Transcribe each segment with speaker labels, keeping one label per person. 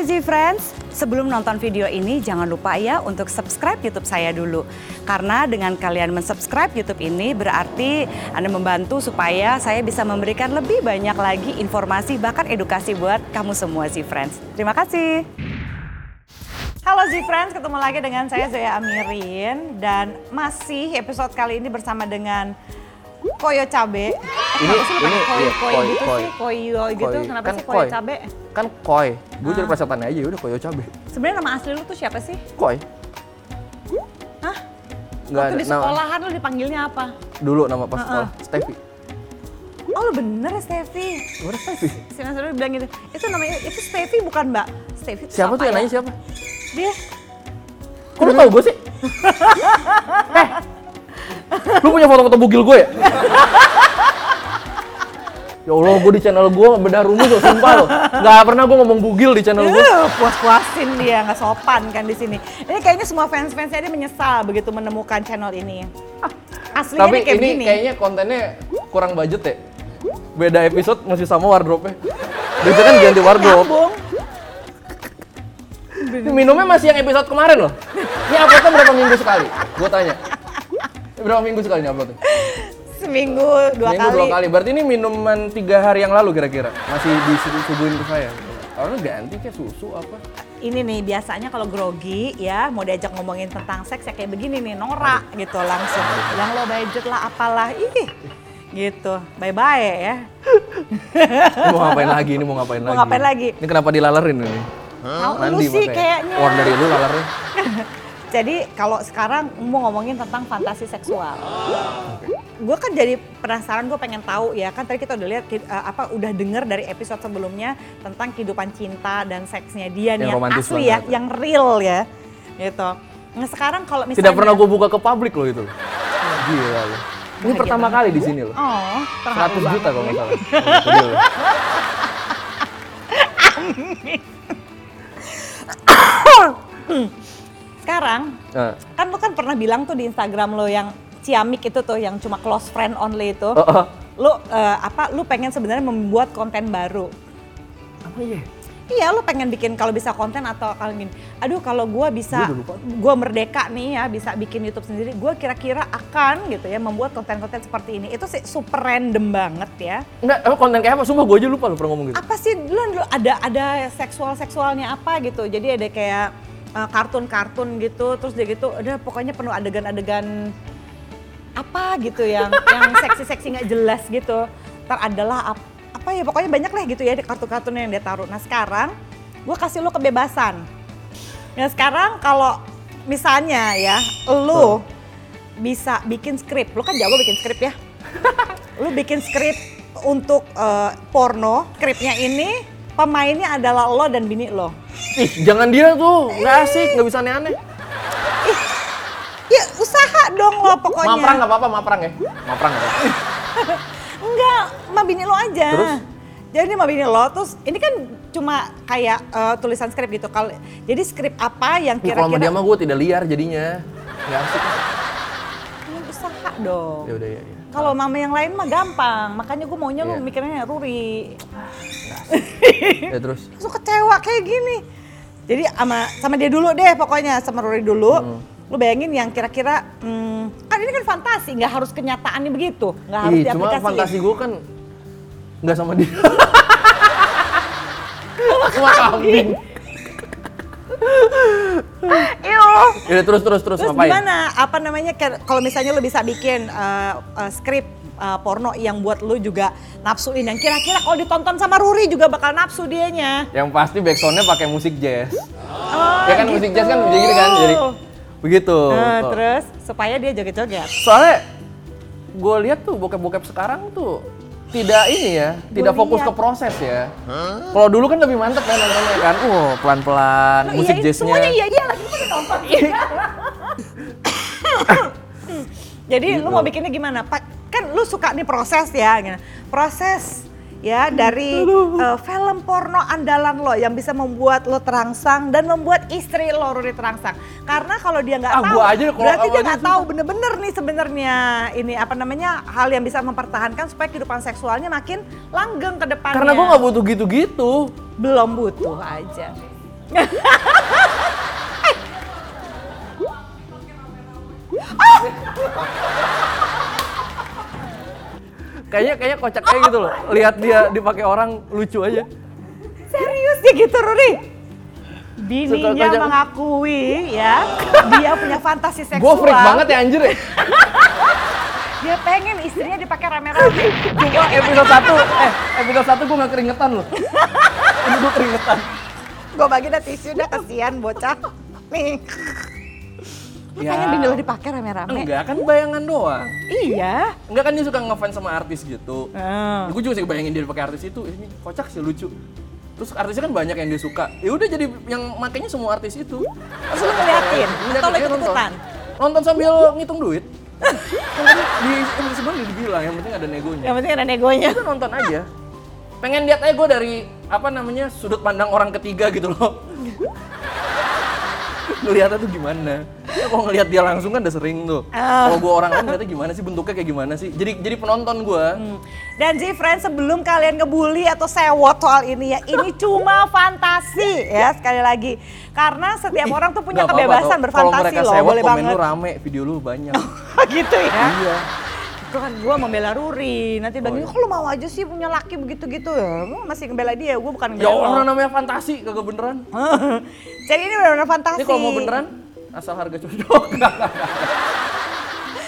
Speaker 1: Movie Friends, sebelum nonton video ini jangan lupa ya untuk subscribe YouTube saya dulu. Karena dengan kalian mensubscribe YouTube ini berarti Anda membantu supaya saya bisa memberikan lebih banyak lagi informasi bahkan edukasi buat kamu semua Z Friends. Terima kasih. Halo Z Friends, ketemu lagi dengan saya Zoya Amirin dan masih episode kali ini bersama dengan Koyo Cabe. Eh,
Speaker 2: Ini-
Speaker 1: kenapa sih lu pakai
Speaker 2: ini,
Speaker 1: koyo, koyo
Speaker 2: iya, koi,
Speaker 1: gitu
Speaker 2: koi.
Speaker 1: sih, koyo gitu,
Speaker 2: Koi.
Speaker 1: kenapa
Speaker 2: Kan
Speaker 1: sih koyo
Speaker 2: koi.
Speaker 1: cabe? Ah.
Speaker 2: kan koi gue cari persiapan aja udah koyo cabe
Speaker 1: Sebenarnya nama asli lu tuh siapa sih?
Speaker 2: koi
Speaker 1: Hah?
Speaker 2: Nggak
Speaker 1: Waktu di Ah,
Speaker 2: nama-
Speaker 1: sekolahan lu dipanggilnya apa?
Speaker 2: dulu nama pas
Speaker 1: Heeh.
Speaker 2: sekolah Steffi
Speaker 1: Oh lu bener ya Steffi.
Speaker 2: Gua udah Steffi
Speaker 1: Si Mas Rudy bilang gitu, itu namanya, itu Steffi bukan mbak. Steffi itu
Speaker 2: siapa tuh yang
Speaker 1: ya?
Speaker 2: nanya siapa
Speaker 1: Dia,
Speaker 2: kok lu tau gue sih eh lu punya foto foto bugil gue ya Ya Allah, gue di channel gue bedah rumus loh, sumpah loh. Gak pernah gue ngomong bugil di channel gue.
Speaker 1: "Uh, puas-puasin dia, nggak sopan kan di sini. Ini kayaknya semua fans-fansnya dia menyesal begitu menemukan channel ini. Aslinya
Speaker 2: Ah, Tapi
Speaker 1: dia kayak
Speaker 2: ini
Speaker 1: begini.
Speaker 2: kayaknya kontennya kurang budget ya. Beda episode masih sama wardrobe-nya. Biasanya kan ganti wardrobe.
Speaker 1: Nyambung.
Speaker 2: Ini Minumnya masih yang episode kemarin loh. Ini uploadnya berapa minggu sekali? Gue tanya. Berapa minggu sekali ini uploadnya?
Speaker 1: Seminggu dua
Speaker 2: minggu
Speaker 1: kali.
Speaker 2: dua kali. Berarti ini minuman tiga hari yang lalu kira-kira. Masih disuguhin ke saya. Orang ganti kayak susu apa?
Speaker 1: Ini nih biasanya kalau grogi ya mau diajak ngomongin tentang seks ya kayak begini nih Nora gitu langsung. Yang lo budget lah apalah ih gitu. Bye bye ya.
Speaker 2: Ini mau ngapain lagi? Ini mau ngapain
Speaker 1: Mau
Speaker 2: lagi?
Speaker 1: ngapain lagi?
Speaker 2: Ini kenapa dilalerin ini?
Speaker 1: Mau lu sih
Speaker 2: makanya.
Speaker 1: kayaknya.
Speaker 2: Keluar dari lu lalernya.
Speaker 1: Jadi kalau sekarang mau ngomongin tentang fantasi seksual. Gue kan jadi penasaran, gue pengen tahu ya kan tadi kita udah lihat ki- eh, apa udah denger dari episode sebelumnya tentang kehidupan cinta dan seksnya dia nih
Speaker 2: Yang
Speaker 1: yang
Speaker 2: romantis
Speaker 1: asli ya,
Speaker 2: banget.
Speaker 1: yang real ya. Gitu. Nah sekarang kalau misalnya
Speaker 2: Tidak pernah gue buka ke publik loh itu. Gila loh. Ini pertama kali di sini loh.
Speaker 1: Oh, terharu
Speaker 2: 100
Speaker 1: banget.
Speaker 2: juta kalau nggak salah. Oh, gede loh.
Speaker 1: Sekarang
Speaker 2: Nah.
Speaker 1: kan lu kan pernah bilang tuh di Instagram lo yang ciamik itu tuh yang cuma close friend only itu.
Speaker 2: Oh, oh.
Speaker 1: Lu eh, apa lu pengen sebenarnya membuat konten baru.
Speaker 2: Apa ya?
Speaker 1: Iya, lo pengen bikin kalau bisa konten atau kalau gini. Aduh, kalau gue bisa,
Speaker 2: Gua udah lupa.
Speaker 1: gue merdeka nih ya, bisa bikin YouTube sendiri. Gue kira-kira akan gitu ya membuat konten-konten seperti ini. Itu sih super random banget ya.
Speaker 2: Enggak, emang konten kayak apa? Sumpah gue aja lupa lo pernah ngomong gitu.
Speaker 1: Apa sih dulu dulu ada ada seksual-seksualnya apa gitu. Jadi ada kayak eh, kartun-kartun gitu, terus dia gitu, udah pokoknya penuh adegan-adegan apa gitu yang yang seksi-seksi nggak jelas gitu. Ntar adalah ap- apa ya pokoknya banyak lah gitu ya di kartu-kartun yang dia taruh. Nah sekarang gue kasih lo kebebasan. Nah sekarang kalau misalnya ya lo bisa bikin skrip, lo kan jago bikin skrip ya. lo bikin skrip untuk eh, porno, skripnya ini pemainnya adalah lo dan bini lo.
Speaker 2: Ih, jangan dia tuh, nggak asik, nggak bisa aneh-aneh.
Speaker 1: Ya usaha dong lo pokoknya.
Speaker 2: Maprang nggak apa-apa, maprang ya. Maprang nggak apa-apa.
Speaker 1: Enggak, sama bini lo aja.
Speaker 2: Terus?
Speaker 1: Jadi sama bini lo, terus ini kan cuma kayak eh, tulisan skrip gitu. Kalau jadi skrip apa yang
Speaker 2: Ih, Kalau sama dia
Speaker 1: kira-kira
Speaker 2: mah gue tidak liar jadinya. Nggak asik.
Speaker 1: Ini usaha dong.
Speaker 2: Ya udah ya. ya.
Speaker 1: Kalau mama yang lain mah gampang, makanya gue maunya lu
Speaker 2: Iya.
Speaker 1: mikirnya Ruri.
Speaker 2: Ya terus.
Speaker 1: Langsung kecewa kayak gini. Jadi sama sama dia dulu deh pokoknya sama Ruri dulu.
Speaker 2: Hmm.
Speaker 1: Lu bayangin yang kira-kira hmm, kan ini kan fantasi, nggak harus kenyataannya begitu, nggak harus ya?
Speaker 2: Ih, cuma
Speaker 1: diaplikasiin.
Speaker 2: fantasi gue kan nggak sama dia. Cuma kambing.
Speaker 1: Iuh.
Speaker 2: Ya udah, terus terus terus,
Speaker 1: Terus
Speaker 2: ngapain?
Speaker 1: gimana? Apa namanya? kayak- Kalau misalnya lo bisa bikin eh, eh, skrip eh, porno yang buat lo juga nafsuin, yang kira-kira kalau ditonton sama Ruri juga bakal nafsu dianya.
Speaker 2: Yang pasti backsoundnya pakai musik jazz.
Speaker 1: Oh,
Speaker 2: ya kan musik jazz kan jadi gitu kan, jadi begitu.
Speaker 1: Nah,
Speaker 2: Tuh.
Speaker 1: terus supaya dia joget-joget.
Speaker 2: soalnya gue lihat tuh bokep-bokep sekarang tuh tidak ini ya, tidak
Speaker 1: Gua
Speaker 2: fokus
Speaker 1: lihat.
Speaker 2: ke proses ya. Kalau dulu kan lebih mantep kan nontonnya kan, wow pelan-pelan,
Speaker 1: Lo
Speaker 2: musik
Speaker 1: iyain,
Speaker 2: jazznya.
Speaker 1: Semuanya Nah, iya iya lagi pada nonton. Jadi lu
Speaker 2: Gitu.
Speaker 1: mau bikinnya gimana? Pak, kan lu suka nih proses ya, gitu. proses ya dari eh, film porno andalan lo yang bisa membuat lo terangsang dan membuat istri lo Ruri terangsang. Karena kalau dia nggak
Speaker 2: Ah,
Speaker 1: tahu,
Speaker 2: gua aja kalau
Speaker 1: berarti dia
Speaker 2: awalnya
Speaker 1: nggak tahu bener-bener nih sebenarnya ini apa namanya hal yang bisa mempertahankan supaya kehidupan seksualnya makin langgeng ke depannya.
Speaker 2: Karena gue nggak butuh gitu-gitu.
Speaker 1: belum butuh aja.
Speaker 2: kayaknya kayaknya kocaknya gitu loh. Lihat dia dipakai orang lucu aja.
Speaker 1: Serius ya gitu Ruri? Bininya
Speaker 2: Suka-suka.
Speaker 1: mengakui ya, dia punya fantasi seksual.
Speaker 2: Gue freak banget ya anjir ya.
Speaker 1: Dia pengen istrinya dipakai rame-rame.
Speaker 2: Cuma episode 1, eh episode 1 gue gak keringetan loh. Ini gue keringetan.
Speaker 1: Gue bagi dah tisu dah kasihan bocah. Nih.
Speaker 2: Ya.
Speaker 1: Makanya bini lo dipakai rame-rame.
Speaker 2: Enggak, kan bayangan doang.
Speaker 1: Iya.
Speaker 2: Enggak kan dia suka ngefans sama artis gitu.
Speaker 1: Heeh.
Speaker 2: Gue juga sih bayangin dia pakai artis itu, eh, ini kocak sih lucu. Terus artisnya kan banyak yang dia suka. Ya udah jadi yang makanya semua artis itu.
Speaker 1: Terus lu ngeliatin? Atau lo ikut-ikutan?
Speaker 2: Nonton. Nonton sambil ngitung duit. Kan tadi di episode sebelumnya dibilang yang penting ada negonya.
Speaker 1: Yang penting ada negonya.
Speaker 2: Udah nonton aja. Pengen lihat aja gue dari apa namanya sudut pandang orang ketiga gitu loh. Ngeliatnya tuh gimana? Ya, Kalau ngelihat dia langsung kan udah sering tuh.
Speaker 1: Ah.
Speaker 2: Kalau gue orang lain ngeliatnya gimana sih bentuknya kayak gimana sih? Jadi jadi penonton gue.
Speaker 1: Hmm. Dan Z friends sebelum kalian ngebully atau sewot soal ini ya, ini cuma fantasi ya sekali lagi. Karena setiap orang tuh punya
Speaker 2: Nggak apa-apa
Speaker 1: kebebasan
Speaker 2: tau.
Speaker 1: berfantasi
Speaker 2: Kalau mereka
Speaker 1: loh,
Speaker 2: sewot,
Speaker 1: boleh
Speaker 2: komen
Speaker 1: banget.
Speaker 2: lu rame, video lu banyak.
Speaker 1: gitu ya.
Speaker 2: iya.
Speaker 1: Kan gue membela Ruri, nanti bilang,
Speaker 2: Oh, iya.
Speaker 1: "Ya, kok lu mau aja sih punya laki begitu-gitu ya? Lu masih ngebela dia, gue bukan
Speaker 2: Ya
Speaker 1: ngebela lo."
Speaker 2: orang namanya fantasi, kagak beneran.
Speaker 1: Jadi ini benar-benar fantasi.
Speaker 2: Ini kalau mau beneran, asal harga cocok.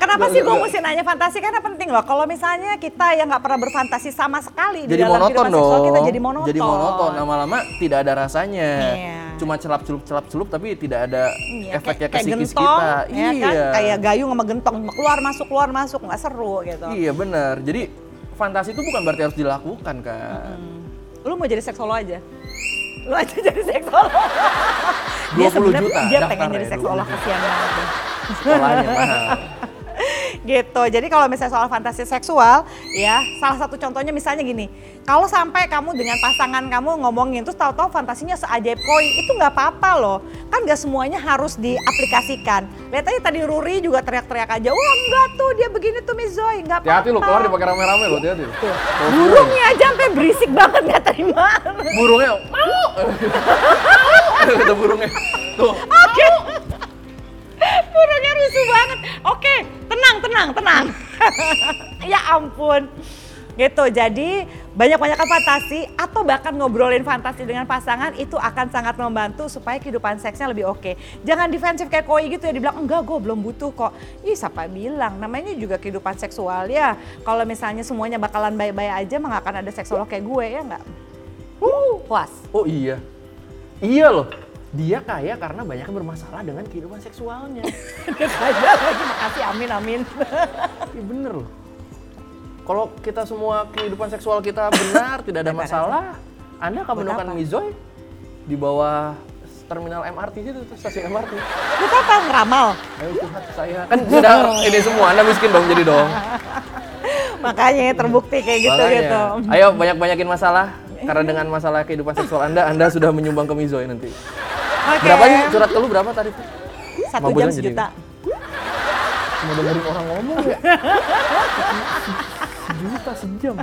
Speaker 1: Kenapa
Speaker 2: Nggak,
Speaker 1: sih gue
Speaker 2: nggak.
Speaker 1: mesti nanya fantasi? Karena penting loh. Kalau misalnya kita yang nggak pernah berfantasi sama sekali di
Speaker 2: jadi
Speaker 1: dalam
Speaker 2: monoton
Speaker 1: kehidupan seksual
Speaker 2: dong.
Speaker 1: kita jadi monoton.
Speaker 2: monoton. lama-lama tidak ada rasanya.
Speaker 1: Iya.
Speaker 2: Cuma celap celup celap celup tapi tidak ada
Speaker 1: Iya,
Speaker 2: efeknya
Speaker 1: kayak-
Speaker 2: ke
Speaker 1: kayak
Speaker 2: psikis
Speaker 1: gentong,
Speaker 2: kita.
Speaker 1: ya
Speaker 2: iya.
Speaker 1: kan? Kayak gayung sama gentong keluar masuk keluar masuk nggak seru gitu.
Speaker 2: Iya benar. Jadi fantasi itu bukan berarti harus dilakukan kan.
Speaker 1: Lu mau jadi seksolog aja? Lu aja jadi seksolog. dia
Speaker 2: 20
Speaker 1: sebenarnya
Speaker 2: juta
Speaker 1: dia pengen
Speaker 2: daftarnya,
Speaker 1: jadi
Speaker 2: 20
Speaker 1: seksolog
Speaker 2: juta.
Speaker 1: kasihan banget. deh.
Speaker 2: Sekolahnya kan? mahal.
Speaker 1: gitu. Jadi kalau misalnya soal fantasi seksual, ya salah satu contohnya misalnya gini, kalau sampai kamu dengan pasangan kamu ngomongin terus tahu-tahu fantasinya seajaib koi, itu nggak apa-apa loh. Kan nggak semuanya harus diaplikasikan. Lihat aja tadi Ruri juga teriak-teriak aja, wah enggak tuh dia begini tuh Mizoy, nggak apa-apa.
Speaker 2: Hati-hati lu keluar dipakai rame-rame lo, hati-hati. lu. Kalau burung,
Speaker 1: Burungnya aja sampai berisik banget nggak terima.
Speaker 2: burungnya mau. Kata burungnya. Tuh,
Speaker 1: Oke. Burungnya rusuh banget. Oke, tenang, tenang, tenang. ya ampun. Gitu, jadi banyak-banyakkan fantasi atau bahkan ngobrolin fantasi dengan pasangan itu akan sangat membantu supaya kehidupan seksnya lebih oke. Jangan defensif kayak koi gitu ya, dibilang enggak gue belum butuh kok. Ih siapa bilang, namanya juga kehidupan seksual ya. Kalau misalnya semuanya bakalan baik-baik aja mah nggak akan ada seksolog kayak gue ya nggak? Wuh, puas.
Speaker 2: Oh iya. Iya loh. Dia kaya karena banyak yang bermasalah dengan kehidupan seksualnya.
Speaker 1: Aja lagi makasih amin amin.
Speaker 2: Iya bener loh. Kalau kita semua kehidupan seksual kita benar, tidak ada masalah, Anda
Speaker 1: Buat
Speaker 2: akan menemukan
Speaker 1: apa?
Speaker 2: Mizoy di bawah terminal MRT itu, tuh, stasiun MRT.
Speaker 1: Kita apa ngeramal?
Speaker 2: Ayo curhat ke saya. Kan sudah ini semua, Anda miskin dong jadi dong.
Speaker 1: Makanya terbukti kayak gitu
Speaker 2: Makanya,
Speaker 1: gitu.
Speaker 2: Ayo banyak-banyakin masalah. Karena dengan masalah kehidupan seksual Anda, Anda sudah menyumbang ke Mizoy nanti.
Speaker 1: Oke.
Speaker 2: Berapa sih curhat ke lu berapa tadi?
Speaker 1: Satu
Speaker 2: Mabuk
Speaker 1: jam
Speaker 2: aja
Speaker 1: sejuta.
Speaker 2: Cuma dengerin orang ngomong ya. Sejuta sejam.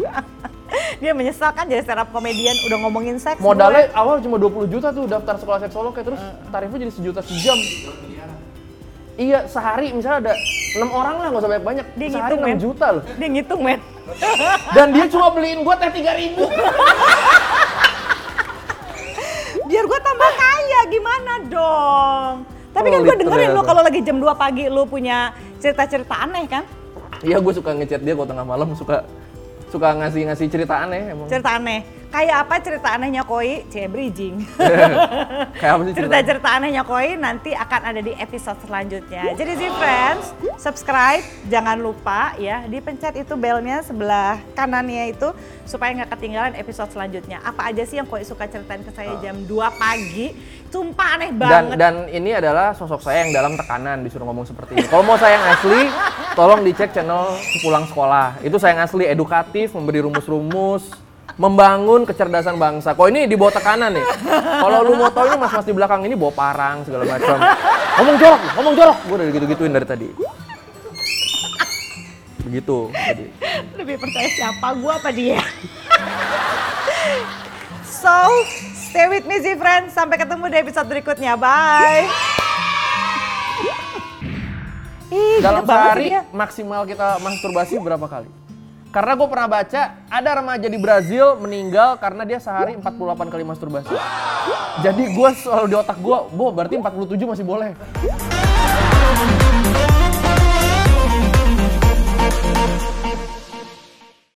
Speaker 1: Dia menyesal kan jadi stand up komedian udah ngomongin seks.
Speaker 2: Modalnya awal cuma 20 juta tuh daftar sekolah seksolog ya terus tarifnya jadi sejuta sejam. Iya, sehari misalnya ada 6 orang lah, nggak usah banyak-banyak.
Speaker 1: Dia
Speaker 2: Sehari
Speaker 1: ngitung,
Speaker 2: 6
Speaker 1: men.
Speaker 2: juta loh.
Speaker 1: gue. Dia ngitung men.
Speaker 2: Dan dia cuma beliin gua teh 3000 ribu.
Speaker 1: Biar gue tambah kaya gimana dong. Tapi
Speaker 2: Oh,
Speaker 1: kan gue
Speaker 2: literally
Speaker 1: dengerin lo
Speaker 2: apa?
Speaker 1: kalau lagi jam 2 pagi lo punya cerita-cerita aneh kan?
Speaker 2: Iya, gue suka ngechat dia kalau tengah malam suka suka ngasih-ngasih cerita aneh emang.
Speaker 1: Cerita aneh. Kayak apa cerita anehnya Koi? Cie bridging.
Speaker 2: Kayak apa sih cerita?
Speaker 1: Cerita-cerita anehnya Koi nanti akan ada di episode selanjutnya. Jadi sih friends, subscribe, jangan lupa ya dipencet itu belnya sebelah kanannya itu supaya nggak ketinggalan episode selanjutnya. Apa aja sih yang Koi suka ceritain ke saya jam 2 pagi? Sumpah aneh
Speaker 2: Dan
Speaker 1: banget.
Speaker 2: dan ini adalah sosok saya yang dalam tekanan disuruh ngomong seperti ini. Kalau mau saya yang asli, tolong dicek channel Pulang Sekolah. Itu saya yang asli edukatif, memberi rumus-rumus, membangun kecerdasan bangsa. Kok ini di bawah tekanan nih. Kalau lu mau tahu ini mas-mas di belakang ini bawa parang segala macam. Ngomong jorok, ngomong jorok. Gue udah gitu-gituin dari tadi. Begitu. Jadi.
Speaker 1: Lebih percaya siapa gua apa dia? So, stay with me Z friends. Sampai ketemu di episode berikutnya. Bye. Ih, gila Iya, banget sih
Speaker 2: Dalam sehari
Speaker 1: dia.
Speaker 2: maksimal kita masturbasi berapa kali? Karena gue pernah baca ada remaja di Brazil meninggal karena dia sehari 48 kali masturbasi. Jadi gue selalu di otak gue, bo berarti 47 masih boleh.